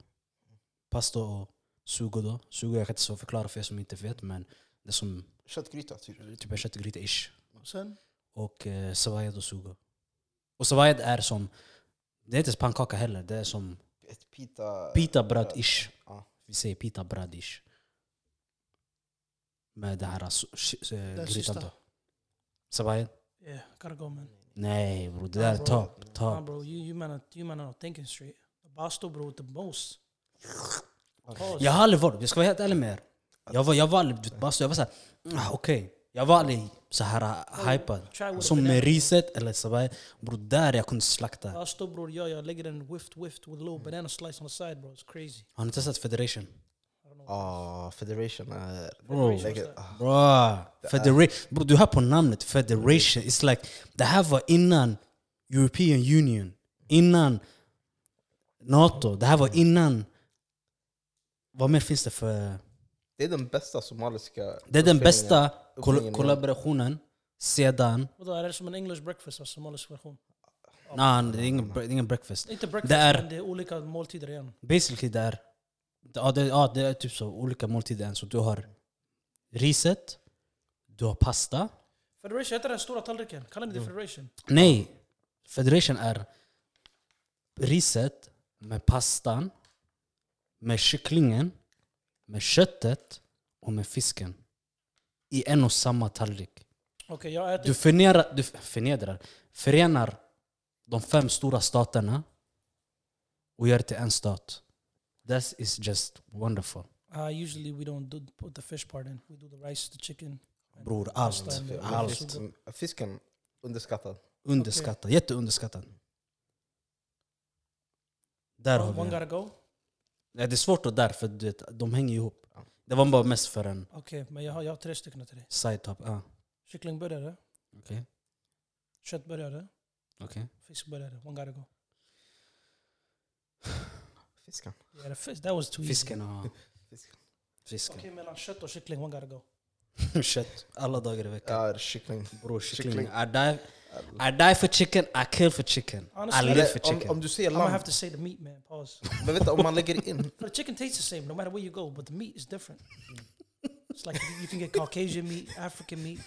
C: Pasta och sugo då. Sugo jag kan inte så förklara för er som inte vet men det är som
A: Köttgryta typ.
C: typ en köttgryta-ish.
B: Och sen?
C: Och eh, savayad och sugo. Och savayad är som, det är inte ens pannkaka heller. Det är som
A: Ett pita...
C: pitabröd-ish.
A: Ja.
C: Vi säger pitabröd-ish. Med det här su- sh- eh,
B: Den
C: grytan
B: sista.
C: då. Savayad?
B: Yeah, gotta go man.
C: Nej bror, det där är
B: bro.
C: top.
B: Nah,
C: top.
B: bro, you, you man, are- you man are not thinking straight. Basto bro with the most. Pause.
C: Jag har aldrig varit, jag ska vara helt ärlig med er. Jag var, jag var aldrig, du vet, bara så, jag var såhär, ah, okej. Jag var aldrig så här
B: Oh,
C: uh, hypad.
B: try with
C: Som
B: the
C: med
B: banana.
C: riset eller sabay. Bror, där jag kunde slakta.
B: Basto bro, yo, yo, lägger den whiffed whiffed with a little banana slice on the side bro. It's crazy.
C: Har ni testat federation?
B: I don't know.
A: Ah, federation är...
C: Bro.
A: Lägger, ah,
C: Bra. Federation. Bro, du hör på namnet, federation. It's like, det här var innan European Union. Innan NATO. Det här var innan... Vad mer finns det för...
A: det är den bästa somaliska...
C: Det är den bästa
A: Uppfinningen,
C: kol-
A: ja.
C: kollaborationen sedan
B: Vadå, är det som en English breakfast fast somalisk version?
C: Nej, Ah, det är ingen, bre- det är ingen breakfast.
B: Inte breakfast,
C: Det är-
B: men det är olika måltider igen.
C: Basically det är, ja, det, ja, det är typ så, olika måltider. Så du har riset, du har pasta.
B: Federation heter den stora tallriken. Kallar ni det
C: Mm.
B: federation?
C: Nej, federation är riset med pastan, med kycklingen, med köttet och med fisken. I en och samma tallrik.
B: Okej, jag äter...
C: Du, förnedrar, du förnedrar, förenar de fem stora staterna och gör det till en stat. That is just wonderful.
B: Uh, usually we don't do, put the fish part in. We do the rice, the chicken. and
C: Bror,
B: pasta
C: allt.
B: and the-
A: Men
C: Allt.
B: Sugo.
A: Fisken, fisken underskattad.
C: Underskattad. Jätteunderskattad. Där har vi
B: One
C: den.
B: gotta go.
C: Nej, Det är svårt att där, för du vet, de hänger ihop. Det var bara mest för en
B: Okej, men jag har, jag har tre stycken till dig.
C: side top. Ah.
B: Kycklingburgare,
C: Okej.
B: köttburgare,
C: okej.
B: fiskburgare. One gotta go.
A: Fisken.
B: Yeah, the fish, that was too
C: Fisken och
A: Fisken.
B: easy.
C: fisken.
B: Okej, mellan kött och kyckling, one gotta go.
C: Kött. Alla dagar i veckan.
A: Ja, kyckling.
C: Bror, kyckling.
A: kyckling.
C: I die, I die for chicken, I kill for chicken. I
B: Honestly,
C: live for
A: Eller, om,
C: chicken.
A: om du säger
B: I'm gonna have
A: lamm,
B: to say the meat man, pause.
A: men vänta om man lägger in...
B: But the chicken tastes the same no matter where you go, but the meat is different. it's like you can get Caucasian meat, African meat.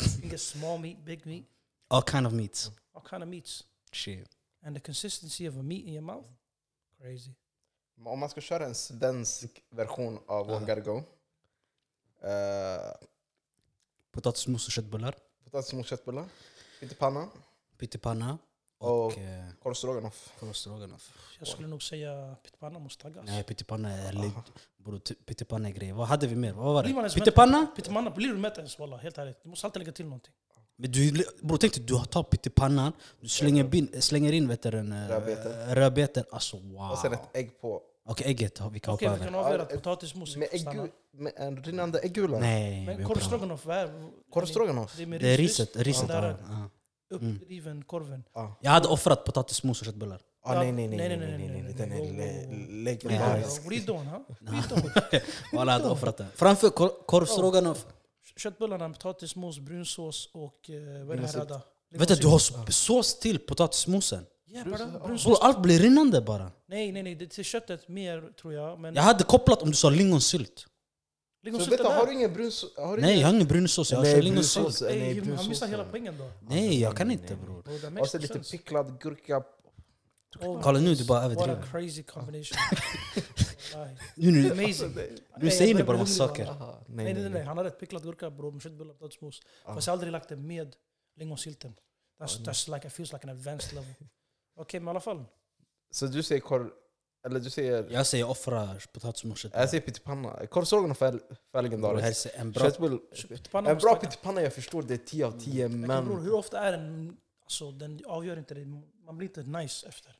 B: You can get small meat, big meat,
C: All kind of meats.
A: Mm.
B: all kind of meats.
C: Shit.
B: And the consistency of a meat in your mouth, crazy.
A: Om man ska köra en svensk version av One
C: Aha.
A: Gotta Go. eh,
C: Potatismos och köttbullar.
A: Potatis mot köttbullar. Pyttipanna.
C: Pyttipanna.
A: Och-
C: och eh,
A: Korv stroganoff.
C: korv stroganoff.
B: Jag skulle nog säga pyttipanna mustagas.
C: Nej, pyttipanna är lit- bror, ty- pyttipanna är grejer. Vad hade vi mer? Vad var
B: Blir man
C: det?
B: ens
C: Pyttipanna?
B: Pyttipanna blir du mätt ens walla, helt ärligt. Du måste alltid lägga till någonting.
C: Men du, bror tänk dig, du tar pyttipannan, du slänger, bin, slänger in vet du, den, eh,
A: Rödbetor.
C: rödbetor. Alltså wow.
A: Och sen ett ägg på.
C: Okej, ägget har vi kan
B: Okej,
C: hoppa
B: vi kan
C: över.
A: Ja,
B: avgöra att potatismos
A: Med,
B: får stanna.
A: ägg, med en rinnande äggula.
C: Nej, vi
B: Men
C: hoppar
B: korv
C: över.
B: stroganoff, vad är
A: Korv stroganoff.
B: Det är med
C: Det är
B: ris,
C: riset. riset
B: Ja.
C: ja. Mm. Ja.
B: Uppriven korven.
C: Jag hade offrat potatismos och köttbullar.
A: Ah,
B: Ja,
A: nej, nej, nej,
B: nej,
A: nej,
B: nej,
A: nej, nej, nej, den
B: nej,
A: är
B: nej,
A: le-
B: nej,
C: Ja,
B: Ja,
A: legendarisk.
B: What are you doing? Huh? What are you doing?
C: Walla, jag hade offrat det. Framför kor- korv stroganoff.
B: Köttbullarna, potatismos, brunsås och eh, vad är det
A: Lingonsylt.
B: här? Radda?
C: Vet du, du har s- sås till potatismosen.
B: Jävlar, brunsås.
C: Bror, allt blir rinnande bara.
B: Nej, nej, nej. Det är till köttet mer tror jag. Men
C: Jag hade kopplat om du sa lingonsylt.
A: Så
B: lingonsylt
A: vänta,
B: är
A: har
B: där.
A: du ingen brunsås? Har du
C: Nej,
A: ingen-
C: jag har ingen brunsås. Jag
A: Nej,
C: kör
A: brunsås.
C: lingonsylt.
A: Nej,
B: Nej,
A: brunsås,
B: han missar hela
A: ja.
B: poängen då.
C: Alltså, Nej, jag kan
A: nej,
C: inte
A: nej,
B: Bro,
C: bror.
B: that
A: Och
B: makes
A: så
B: no
A: lite
B: sense.
A: picklad gurka.
B: Oh,
C: Kolla nu, du bara
B: What
C: överdriver.
B: a crazy combination. Wallahi.
C: Nu, nu,
A: Alltså,
B: Amazing.
C: nu säger ni bara massa saker.
A: Aha,
B: Nej, nej, nej. Han har rätt. Picklad gurka bror med köttbullar och potatismos. Fast jag har aldrig lagt det med lingonsylten. That's, that's like, it feels like an advanced level. Okej, men i alla fall.
A: Så du säger korv... Eller du säger...
C: Jag säger offra potatismos och
A: Jag
C: köttbullar.
A: säger pyttipanna. Korv stroganoff är för
C: Bror, här
A: legendariskt.
C: ser En bra
A: Köttbull...
B: Köttpanna
A: En
B: måste Mm.
A: bra
B: tagga.
A: pyttipanna, jag förstår det är 10 av 10,
B: Men bror,
A: men...
B: hur ofta är den... Alltså, den avgör inte det. Man blir inte nice efter.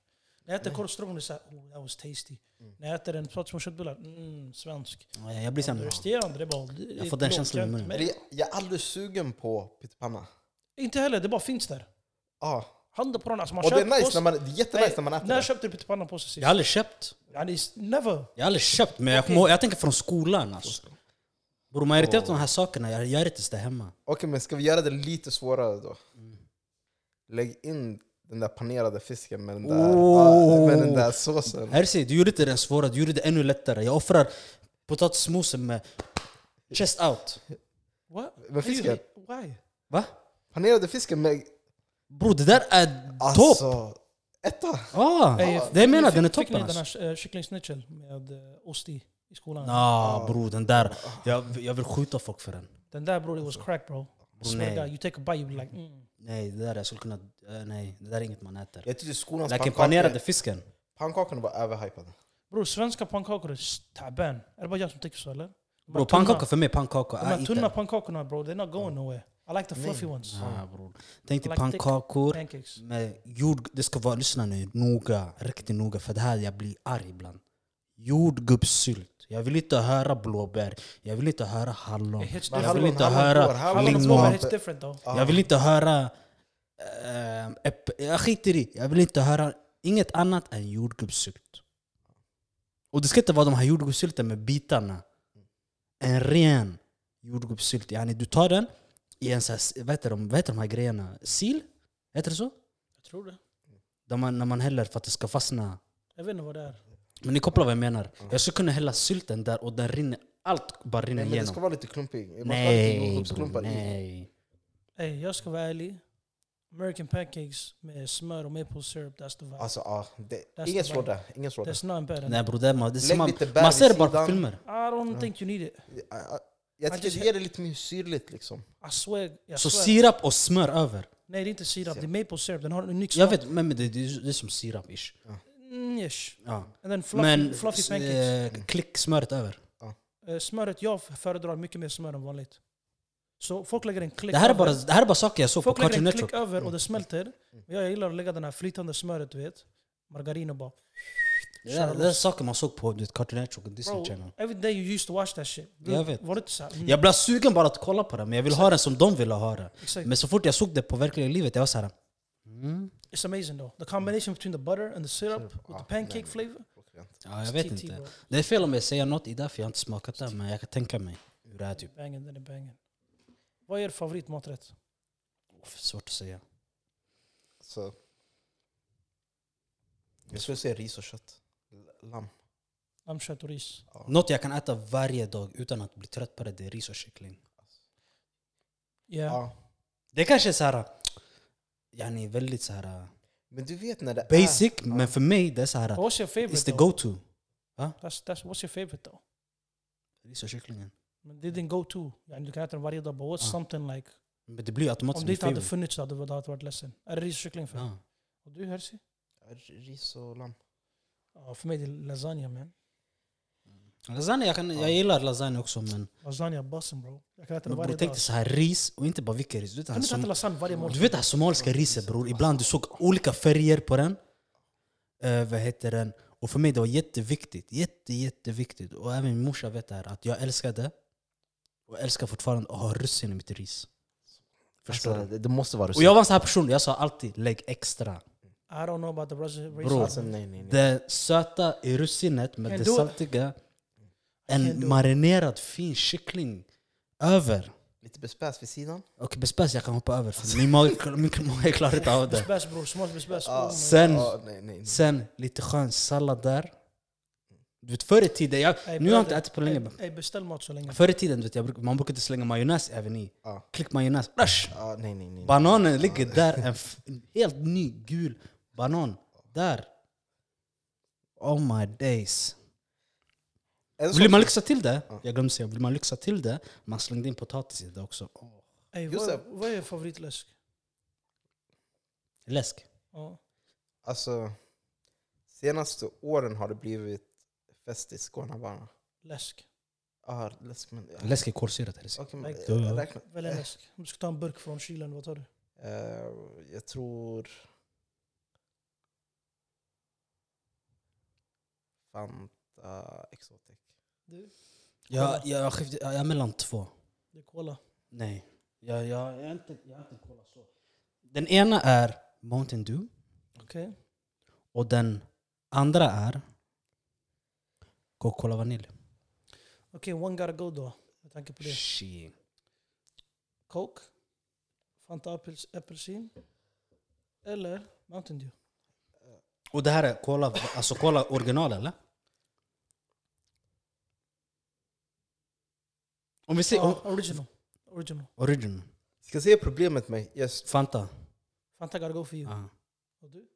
B: När jag äter korv stroganoff är det såhär, oh that was tasty.
C: Mm.
B: När jag äter en potatis med köttbullar, mm, svensk.
C: Ja, Jag blir
B: Det
C: sämre.
B: resterande, det är bara... det-
C: Jag får den
B: det-
C: känslan i
B: jag-
C: munnen.
A: Men
B: men-
A: jag- Jag är aldrig sugen på pyttipanna.
B: Inte heller, det bara finns där.
A: Ja.
B: Handen på den. Alltså man
A: Och det
B: köper
A: är
B: ost-
A: nice, när man, det är jättenice när man äter
B: När
A: det.
B: köpte du pyttipanna på sig
C: Jag
B: sist?
C: har aldrig köpt.
B: Yani, never!
C: Jag har aldrig köpt, men jag, kommer ihåg, jag tänker från skolan alltså. Bror, majoriteten av de här sakerna, jag gör det tills det är hemma.
A: Okej, men ska vi göra det lite svårare då? Lägg in den där panerade fisken med den där,
C: Oh.
A: ah, med den där såsen.
C: Här ser du gjorde inte den svåra, du gjorde det ännu lättare. Jag offrar potatismosen med chest out.
B: What?
A: Men fisken?
B: Why?
C: Va?
A: Panerade fisken med...
C: Bror, det där är topp!
A: Alltså... Etta!
C: Ah,
B: Hey,
C: det jag menar,
B: fick-
C: den är
B: Fick ni
C: toppen
B: den
C: alltså.
B: här eh, kycklingsnitchel med eh, ost i, i skolan?
C: Ah, bror, den där. Jag, jag vill skjuta folk för den.
B: Den där bror, it was crack bro. Swear to
C: nej.
B: God, you take a bite you be like mm.
C: Nej, det där jag skulle kunna... eh, nej, det där är inget man äter.
A: Jag tyckte skolans
C: Läken panerade
A: Alltså, pannkakor,
C: fisken.
A: pannkakorna var överhypade.
B: Bror, svenska pannkakor är s- taban. Är det bara jag som tycker så eller? De här
C: Bror,
B: tunna-
C: pannkaka för Ah, mig, pannkaka.
B: De här
C: I eat
B: tunna
C: them.
B: pannkakorna bro, they're not going nowhere. I like the fluffy ones.
C: Ah, Mm. bror. Tänk
B: Like
C: dig
B: thick
C: pannkakor
B: Pancakes.
C: med jord... Det ska vara, lyssna nu, noga. Riktigt noga, för det här jag blir arg ibland. Jordgubbssylt. Jag vill inte höra blåbär. Jag vill inte höra hallon.
B: It hits
A: Men
C: Jag
B: different.
C: vill inte
A: hallon går,
C: höra
A: hallon
B: Hallon och
A: går.
B: blåbär
C: lingon.
A: Hallon-
B: hits different though.
A: Ja.
C: Jag vill inte höra... Äh, äpp, jag skiter i. Jag vill inte höra inget annat än jordgubbssylt. Och det ska inte vara de här jordgubbssylten med bitarna. En ren jordgubbssylt. Yani du tar den i en sån här, vad, heter de, vad heter de här grejerna? Sil? Heter det så?
B: Jag tror det.
C: Där man, när man häller för att det ska fastna.
B: Jag vet inte vad det är.
C: Men ni kopplar vad jag menar. Jag skulle kunna hälla sylten där och den rinner, allt bara rinner
A: Nej, men det ska
C: igenom.
A: vara lite klumpig. Man ska ha lite
C: Nej, bror,
A: jordgubbsklumpar i.
C: nej.
B: Ey, jag ska vara ärlig. American pancakes med smör och maple syrup, that's the vibe.
A: Alltså, ja. Det,
B: Där
A: ingen
B: ska
A: slår
B: vara-
A: där. Ingen slår där.
B: That's not better.
C: Nej Mm. bror, det är, man, det är
A: Lägg
C: samma,
A: lite bär
C: man
A: vid
C: ser det bara på
A: sidan.
C: filmer.
B: I don't think you need it.
A: Jag, jag, jag tycker
B: just-
A: det ger det lite mer syrligt liksom.
B: I swear. Jag
C: Så
B: swear.
C: sirap och smör över.
B: Nej, det är inte sirap. Det är maple syrup. Den har en unik
C: Jag
B: smak.
C: vet, men men det, det, är- det är som sirap ish.
B: Mm, ish.
C: Ja.
B: And then fluffy,
C: Men
B: fluffy
C: s-
B: pancakes.
C: eh, klick smöret över.
B: Eh, smöret, jag föredrar mycket mer smör än vanligt. Så folk lägger en klick
C: Det här, är
B: över.
C: bara, det här är bara saker jag såg på
B: Folk lägger
C: Cartoon
B: en klick
C: Network.
B: över och det smälter. Jag, jag gillar att lägga den här flytande smöret, du vet. Margarin och bara...
C: Det, där- det är saker man såg på du vet, Cartoon Network och Disney
B: Bro,
C: Channel.
B: every day you used to watch that shit.
C: Jag vet.
B: Var det inte såhär? Mm,
C: Jag blev sugen bara att kolla på det, men jag vill ha den som de ville ha det.
B: exakt.
C: Men så fort jag såg det på verkliga livet, jag var såhär... Mm,
B: It's amazing though. The combination between the butter and the syrup with
A: ah,
B: the pancake
A: nej.
B: flavor.
C: ja, jag vet
B: TT,
C: inte.
B: bro.
C: Det är fel om jag säger något idag för jag har inte smakat det, men jag kan tänka mig hur det är. Typ.
B: Bangen, den är bangen. Vad är er favoritmaträtt?
C: Svårt att säga.
A: Så. Jag skulle säga ris och kött. L- Lamm.
B: Lammkött och ris.
C: Något jag kan äta varje dag utan att bli trött på det, det är ris och kyckling.
B: Yeah.
A: Ja.
C: Det kanske är så här, yani väldigt så här
A: Men du vet när det är...
C: basic, men för mig det är så här,
B: What's your favorite
C: it's the
B: though?
C: go-to.
B: That's, that's, what's your favorite though?
C: Ris och kycklingen.
B: Men det är din go-to. Yani du kan äta den varje dag. But what's
C: Ah.
B: something like...
C: Men det blir
B: Om det
C: automatiskt min
B: inte hade
C: favorite.
B: Er funnits hade du hade varit ledsen. Är det ris och kyckling för dig?
C: Ja.
B: Och du Hersi?
A: Ris och lamm.
B: Ja, för mig det är lasagne man.
C: Lasagne, jag, kan, jag gillar lasagne också men
B: Lasagne bussen bro. er Jag kan äta
C: men
B: den varje
C: bror tänk
B: dag.
C: dig så här ris och inte bara vilken ris. Du vet det
B: Jag
C: här
B: kan inte
C: som-
B: äta lasagne varje
C: Du
B: måltid.
C: vet det här somaliska riset bror, ibland du såg olika färger på den. Eh, vad heter den? Och för mig det var jätteviktigt. Jätte, jätteviktigt. Och även min morsa vet det här, att jag älskar det. Och älskar fortfarande att ha russin i mitt ris. Förstår
A: Alltså,
C: du?
A: det, det måste vara
C: Och jag var en sån här person, jag sa alltid lägg extra.
B: I don't know about the Russian
C: Bro.
B: race.
A: Alltså, nej, nej, nej.
C: Det söta i russinet med
B: Men
C: det
B: då-
C: saltiga.
B: Men då-
C: En marinerad fin kyckling över.
A: Lite bespäs vid sidan.
C: Och bespäs jag kan hoppa över för min mage, min mage klarar inte av det.
B: Bäst bror, smått bäst bäst.
A: Ah,
B: Oh my
C: Sen-
A: ah, nej, nej, nej.
C: Sen lite skön sallad där. Du vet förr i tiden, jag,
B: Ey,
C: nu har jag inte
B: bröder,
C: ätit på länge.
B: ey, Ey, beställ mat så länge.
C: Förr i tiden du vet, jag, bruk- man brukade slänga majonnäs även i.
A: Ja.
C: Klick majonnäs, rush!
A: Ah, nej, nej, nej.
C: Bananen ligger där, en, f- en helt ny gul banan. Där! Oh my days.
A: En sak-
C: Vill man lyxa till det,
A: Ja.
C: jag glömde säga, vill man lyxa till det, man slängde in potatis i det också. Åh,
B: Ey,
A: Josef.
B: vad, vad är er favoritläsk?
C: Läsk.
B: Ja.
C: liksom-
A: Alltså, senaste åren har det blivit fest i Skåne bara.
B: Läsk.
A: Ah, läsk, men, ja.
C: Läsk är kolsyrat. är det så?
A: Okej, men,
B: Like-
A: eh, räkna.
B: Välj en läsk. Om du ska ta en burk från kylen, vad tar du?
A: Eh, jag tror... Fanta Exotic.
B: Du?
C: Jag, jag, jag, skift- jag är mellan två.
B: Det är cola.
C: Nej, jag, jag, jag, har inte, jag har inte kollat så. Den ena är Mountain Dew
B: Okej.
C: och den andra är Coca-Cola Vanilj.
B: Okej, one gotta go då. Med tanke på det.
C: Shit.
B: Coke, Fanta apels, apelsin eller Mountain Dew.
C: Och det här är Cola, alltså Cola original eller? Om vi säger
B: Ja, original. Original.
C: original,
A: Ska se problemet med just
C: Fanta.
B: Fanta gotta go for you.
C: Ah.
B: Och du?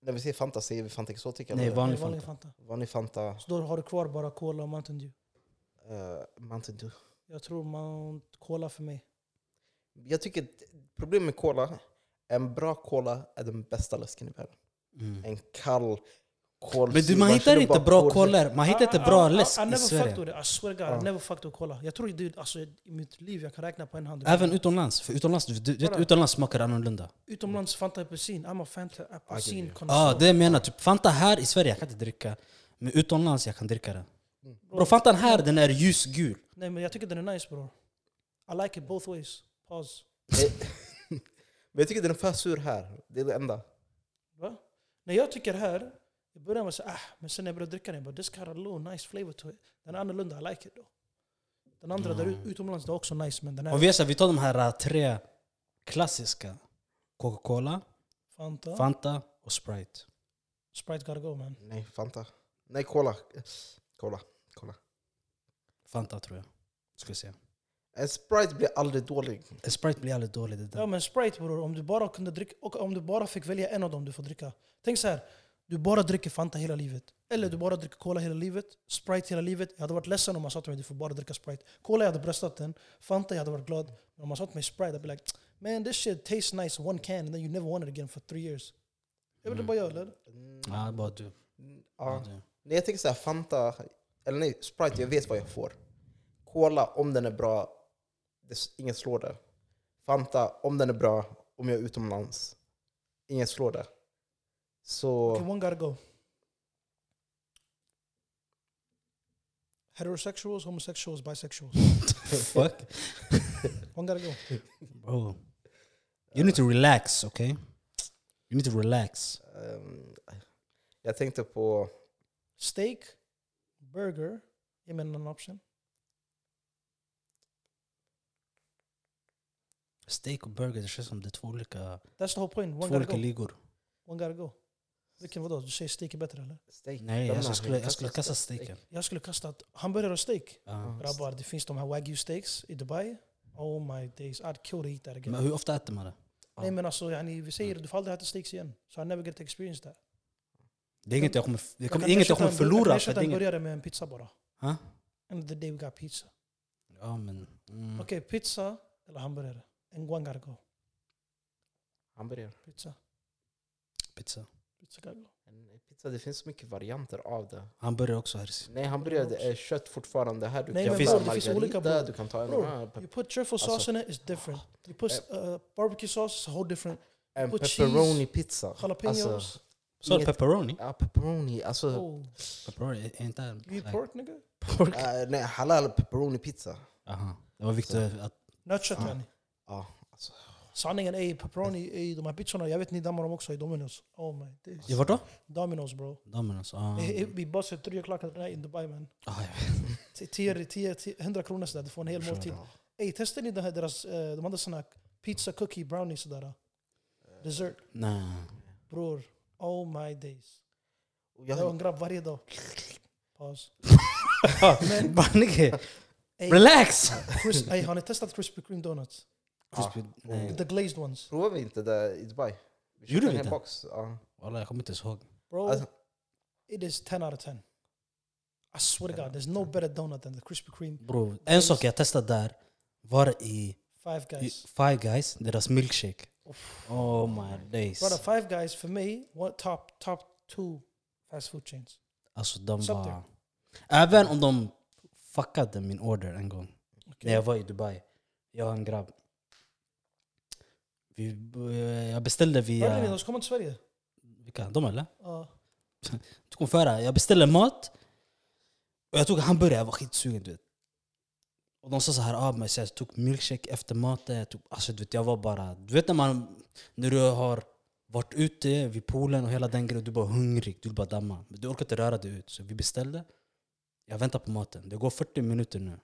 A: när vi säger Fanta, säger vi Fanta Exotic?
C: Nej,
A: eller?
C: vanlig
B: Nej, vanlig
C: Fanta.
B: Fanta.
A: Vanlig Fanta,
B: Så då har du kvar bara Cola och Mountain Dew.
A: uh, Mountain Dew.
B: Jag tror Mount Cola för mig.
A: Jag tycker att problemet med cola, en bra cola är den bästa läsken i världen.
C: Mm.
A: En kall kolsyra.
C: Men du, man hittar
A: känner
C: inte
A: bara
C: bra
A: kolsyra.
C: kolor, man hittar
B: Ah,
C: inte bra läsk
B: I, I, I
C: i
B: never fucked
C: Sverige.
B: with it. I swear God,
A: Ja.
B: I never fucked with Cola. Jag tror dude, alltså, i mitt liv jag kan räkna på en hand.
C: Även utomlands, för utomlands, du, du vet,
B: Kolla. Mm.
C: utomlands smakar det annorlunda.
B: Utomlands Fanta apelsin. I'm a Fanta apelsin
A: ja.
C: Ja,
B: konsum.
C: Ah, det jag menar. Typ Fanta här i Sverige, jag kan inte dricka. Men utomlands, jag kan dricka den.
B: Mm.
C: Bro, Fantan här, den är ljusgul.
B: Nej men jag tycker den är nice bror. I like it both ways. Pause.
A: Eh, Men jag tycker den är för sur här. Det är det enda.
B: Va? När jag tycker här, i början var jag såhär, ah, men sen när jag började dricka den, jag bara this got a little nice flavor to it. Den är annorlunda, I like it då. Den andra där ut- utomlands, det är också nice, men den
C: Om
B: här
C: vi, gör så här, vi tar de här äh, tre klassiska. Coca-Cola,
B: Fanta,
C: Fanta och Sprite.
B: Sprite gotta go man.
A: Nej, Fanta. Nej, cola. Eh, Cola. cola.
C: Fanta tror jag. Ska jag säga.
A: En Sprite blir aldrig dålig.
C: Eh, Sprite blir aldrig dålig. Det där.
B: Ja men Sprite bror, om du bara kunde dricka, och om du bara fick välja en av dem du får dricka. Tänk så här, du bara dricker Fanta hela livet. Eller du bara dricker Cola hela livet, Sprite hela livet. Jag hade varit ledsen om man sa till mig du får bara dricka Sprite. Cola jag hade bröstat den, Fanta jag hade varit glad. Men om man sa till mig Sprite, I'd be like man this shit tastes nice one can and then you never want it again for three years. Jag vet inte bara jag eller?
C: Ja, det är bara du.
A: Ja.
C: Det är du.
A: Nej, jag tänker så här, Fanta... Eller nej, Sprite, jag vet vad jag får. Cola, om den är bra, det, s- ingen slår det. Fanta, om den är bra, om jag är utomlands, ingen slår det. Så...
B: Okay, one gotta go. Heterosexuals, homosexuals, bisexuals.
C: Fuck.
B: One gotta go.
C: Bro. You need to relax, okay? You need to relax.
A: ehm, jag tänkte på...
B: Steak, burger. Ge mig en annan option.
C: Steak och burger, det känns som det är två olika,
B: That's the whole point. One
C: två
B: gotta
C: olika
B: go.
C: ligor.
B: One gotta go. Vilken vadå? Du säger steak är bättre eller?
A: Steak.
C: Nej,
A: Lämna,
C: alltså, jag, skulle,
A: kastar
C: jag skulle kasta steken.
B: Jag skulle kasta att hamburgare och steak.
C: Ja.
B: Grabbar, det finns de här wagyu steaks i Dubai. Oh my days, I'd kill to eat that again.
C: Men hur ofta äter man det?
B: Nej men alltså, yani, vi säger du får aldrig äta steaks igen. So I never get to experience that.
C: Det är inget jag kommer, det
B: Jag
C: kommer,
B: kan
C: inget jag
B: ersätta
C: kommer
B: en bur- Jag kan
C: förlora. För det
B: ersätta
C: är
B: en
C: inget,
B: burgare med en pizza bara.
C: Ha?
B: End of the day we got pizza.
C: ja, men, mm.
B: Okej, pizza eller hamburgare? En guangargo.
A: Hamburgare.
B: Pizza.
C: pizza.
B: Chicago.
A: En pizza, det finns så mycket varianter av det.
C: Han börjar också här.
A: Nej, hamburgare är kött fortfarande. Här du
B: Nej,
A: kan
C: men
A: ta
B: bror, det finns olika,
A: margarita,
B: bror.
A: du kan ta en,
B: Bror,
A: ah, pe-
B: You put truffle
A: Also-
B: sauce in it, it's different. You put uh, barbecue sauce, it's a whole different.
A: en
B: put
A: pepperoni pizza.
B: Jalapenos.
A: Alltså,
C: Så
A: Inget-
C: pepperoni?
A: ja, pepperoni. Alltså,
B: oh,
C: Pepperoni, e- är inte det-
B: you eat pork, nigga?
A: eh, nej, halal pepperoni pizza.
C: Aha. Det var viktigt att...
B: Not kött
A: Ja.
B: yani.
A: Ja, alltså,
B: Sanningen är pepperoni, ey, de här pizzorna, jag vet ni dammar dem också i Domino's. Oh my days.
C: Ja, vart då?
B: Domino's bro.
C: Domino's. Ah.
B: Eh, eh, Vi bussar tre o'clock at night in Dubai man.
C: Ah, jag vet.
B: T- 10, 10, 10, 100 kronor sådär, du får en hel måltid.
A: ja.
B: Ey, testar ni den här deras, eh, de hade såna här pizza, cookie, brownie sådär. Dessert.
C: Nej.
B: Bror, oh my days.
A: Och
B: Jag har en
A: Jag,
B: grabb varje dag. Paus.
C: Banige!
B: Ey,
C: Relax!
B: Ah. Chris, ey, har ni testat Krispy Kreme donuts?
A: Ja.
C: Crispy- Nej.
B: The glazed ones.
A: provade vi inte det i Dubai? Vi
C: Gjorde
A: köpte en
C: vi
A: hel
C: inte?
A: box. Ja.
C: Walla, jag kommer inte ens ihåg.
B: Bro,
A: Alltså-
B: it is 10 out of 10. I swear to God, there's no better donut than the Krispy Kreme
C: Bro, en sak jag testade där var i,
B: Five
C: i
B: Guys.
C: Five Guys, deras milkshake. Oh my days.
B: Brother, Five Guys för mig var top, top two fast food chains.
C: Alltså de
B: Stop
C: var...
B: there.
C: Även om de fuckade min order en gång. När jag var i Dubai. Jag och en grabb. Vi, eh, jag beställde
B: Hörde ni? De
C: via...
B: ska komma till Sverige.
C: Vilka? De eller?
B: Ja.
C: Du kommer få höra. Jag beställde mat. Och jag tog hamburgare, jag var skitsugen du vet. Och de sa så här ah, men så jag tog milkshake efter maten. Jag, tog, alltså, du vet, jag var bara... Du vet när man... När du har varit ute vid poolen och hela den grejen. Du är bara hungrig, du vill bara damma. Men du orkar inte röra dig ut. Så vi beställde. Jag väntar på maten. Det går 40 minuter nu.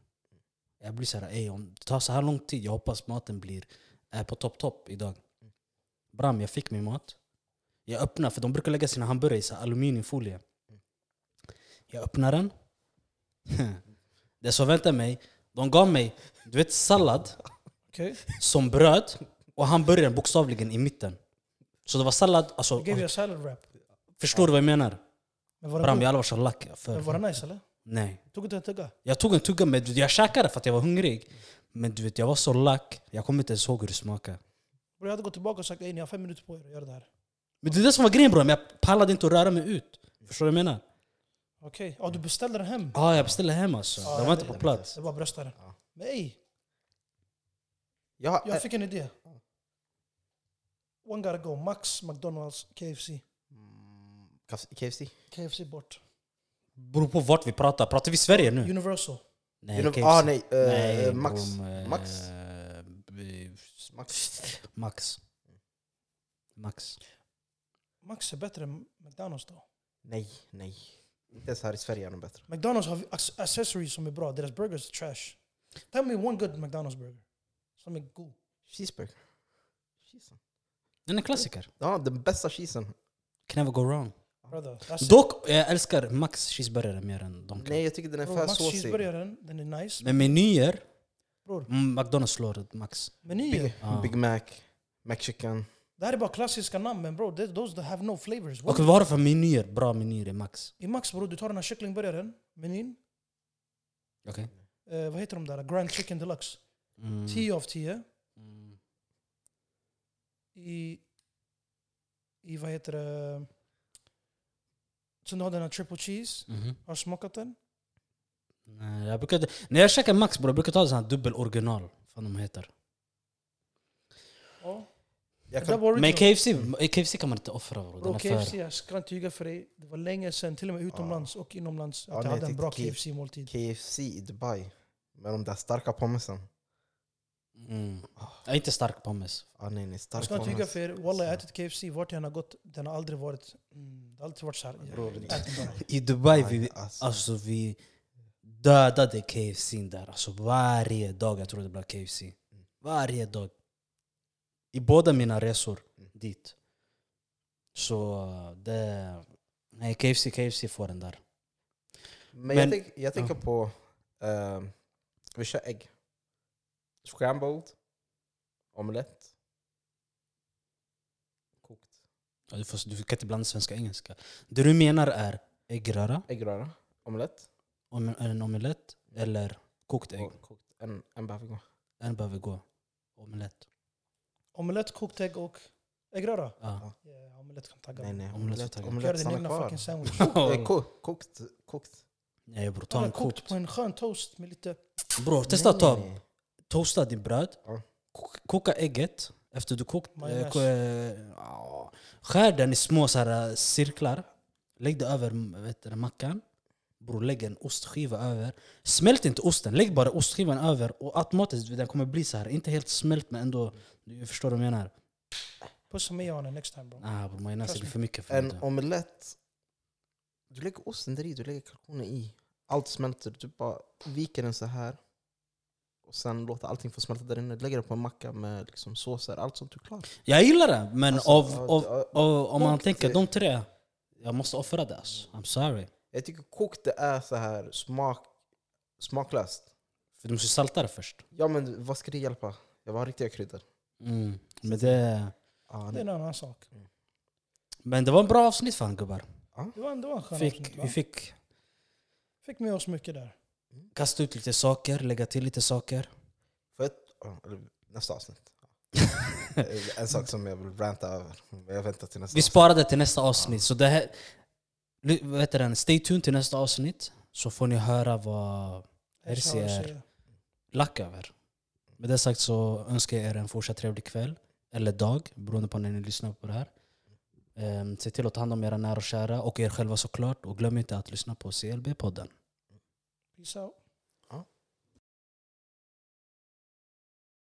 C: Jag blir så här, "Ey, om det tar så här lång tid, jag hoppas maten blir är på topp topp idag. Bram, jag fick min mat. Jag öppnar, för de brukar lägga sina hamburgare i så här aluminiumfolie. Jag öppnar den. Det som väntar mig, de gav mig du vet sallad
B: Okej.
C: som bröd och hamburgaren bokstavligen i mitten. Så det var sallad, alltså,
B: Jag gav you a salad wrap.
C: förstår du vad jag menar?
B: Men var
C: Bram,
B: det, god?
C: jag allvar så lack.
B: Men var det nice ¿eh? eller?
C: Nej.
B: Tog inte en tugga?
C: Jag tog en tugga, men du vet, jag käkade för att jag var hungrig. Men du vet, jag var så lack, jag kommer inte ens ihåg hur det smakade.
B: Bror, jag hade gått tillbaka och sagt ey ni har fem minuter på er att göra det här.
C: Men det är det som var grejen bror, men jag pallade inte att röra mig ut. Förstår du vad jag menar?
B: Okej, ja du beställde den hem.
C: Ja, jag beställde hem alltså.
B: Ja,
C: Den var
B: jag
C: inte på plats.
B: Det var bröstaren.
A: Ja.
B: Men ey,
A: Jag, eh,
B: jag fick en idé. One gotta go. Max, McDonalds, KFC.
A: Mm, KFC?
B: KFC bort.
C: Beror på vart vi pratar. Pratar vi Sverige nu?
B: Universal.
C: Nej,
A: Genom-
C: KFC.
A: ah, nej, eh,
C: Nej,
A: Max.
C: bro, eh,
A: Max?
C: b-
A: Max.
C: Max. Max.
B: Max är bättre än McDonalds då.
A: Nej, nej. Inte ens här i Sverige är de bättre.
B: McDonalds har ac- accessories som är bra. Deras burgers är trash. Tell me one good McDonalds burger. Som är god.
A: Cheeseburger. Cheesen.
C: Den är klassiker.
A: Ja, den bästa cheesen.
C: Can never go wrong.
B: Brother, that's it.
C: Dock, jag älskar Max cheeseburgare mer än Donken.
A: Nej, jag tycker den är
B: Bro,
A: för
B: Max
A: såsig.
B: cheeseburgaren, den är nice.
C: Men menyer,
B: Bror,
C: mm, McDonalds slår Max.
B: menyer.
A: Big,
C: Ah.
A: Big Mac, McChicken.
B: Det här är bara klassiska namn men bro, th- those that have no flavors.
C: Och vad har du för menyer? Bra menyer i Max.
B: I Max bro, du tar den här kycklingburgaren, menyn.
C: Okej?
B: Eh, vad heter de där? Grand Chicken Deluxe.
C: Mm.
B: 10 av 10.
C: Mm.
B: I, I vad heter det? Sen du har den här triple cheese.
C: Mhm.
B: Har du smakat den?
C: Nej, jag brukar, när jag käkar Max bror, jag brukar ta sån här dubbel original. Vad de heter.
B: Ja.
A: Jag
B: Det
A: kan,
B: var
C: Men
B: original.
C: KFC, KFC kan man inte offra bror. Den
B: Bro,
C: är
B: KFC,
C: för...
B: jag ska inte ljuga för dig. Det var länge sedan, till och med utomlands och inomlands, att
A: Ja,
B: jag
A: nej,
B: hade en
A: jag
B: bra
A: tyckte K-
B: KFC-måltid.
A: KFC i Dubai. Med de där starka pommesen.
C: Mm. Jag är inte stark pommes.
A: Ah, nej, nej,
B: Jag
A: stark
B: ska inte ljuga
A: pommes.
B: för er, wallah jag
A: Alltså.
B: har ätit KFC vart jag än har gått, den har aldrig varit... Mm, det har alltid varit såhär...
A: Bror, det-
C: I Dubai, vi,
A: Nej, alltså.
C: alltså, vi dödade KFC där. Alltså, varje dag jag tror det blev KFC. Varje dag. I båda mina resor dit. Så eh, det... Nej, KFC, KFC får den där.
A: Men
C: Men-
A: jag, tänk, jag tänker på... ehm, vi kör ägg. Scrambled. Omelett. Kokt.
C: Ja, Du, får, du kan inte blanda svenska och engelska. Det du menar är äggröra,
A: Äggröra. Omelett.
C: om en omelett eller kokt ägg.
A: Och kokt. En, en behöver gå.
C: En behöver gå. Omelett.
B: Omelett, kokt ägg och... Är gröda?
C: Ja.
B: Ja, omelett kan tagga.
A: Nej, nej.
C: Omelett
A: Omelett,
C: taggad.
B: Gör
A: omelett
B: din
A: stannar
B: egna
A: kvar.
B: fucking sandwich.
A: Eh, ko- Kokt. kokt.
C: Nej bror, ta
B: Ta
C: en
B: kokt
C: kokt.
B: på en skön toast med lite...
C: Bror, testa att ta
A: Nej, nej, nej.
C: toasta din bröd,
A: Ja.
C: ko- koka ägget efter du kokt. eh,
B: Majonnäs.
C: ko- eh, ja. Skär den i små så här, eh, cirklar. Lägg det över mm, vet du, mackan. Bror, lägg en ostskiva över. Smält inte osten, lägg bara ostskivan över. Och automatiskt den kommer bli så här. Inte helt smält men ändå, du förstår vad jag menar.
B: Pussa mig Janne next time bro.
C: Ah, bror, majonnäs är
B: Trust me.
C: för mycket för mig.
A: En
C: då.
A: omelett. Du lägger osten där i, du lägger kalkonen i. Allt smälter. Du bara viker den så här. Och sen låter allting få smälta där inne. Du lägger det på en macka med liksom såser. Allt sånt du klarar.
C: Jag gillar det, men
A: Alltså,
C: av,
A: ja,
C: av,
A: ja,
C: av, om man
A: kokt,
C: tänker
A: eh.
C: de tre, jag måste offra det alltså. I'm sorry.
A: Jag tycker kokt det är så här smak, smaklöst.
C: För du måste salta det först.
A: Ja men vad ska det hjälpa? Jag har riktiga kryddor.
C: Mm. Men, det,
A: Ah,
B: Det är
C: Mm.
A: nej.
B: en annan sak.
C: men det var en bra avsnitt fan gubbar.
B: Det var, det var en skön
C: Fick,
B: avsnitt,
C: vi
B: va?
C: fick
B: fick med oss mycket där.
C: kasta ut lite saker, lägga till lite saker.
A: För ett, ja, eller nästa avsnitt. Eh, en sak som jag vill ranta över. Jag väntar till nästa
C: Vi sparade till nästa avsnitt. Så det här, Ly- vad heter den? Stay tuned till nästa avsnitt så får ni höra vad
B: Hej, tja,
C: RCR.
B: hej, tja.
C: lack över. Med det sagt så önskar jag er en fortsatt trevlig kväll, eller dag, beroende på när ni lyssnar på det här. Um, se till att ta hand om era nära och kära och er själva såklart. Och glöm inte att lyssna på CLB-podden.
B: Peace out.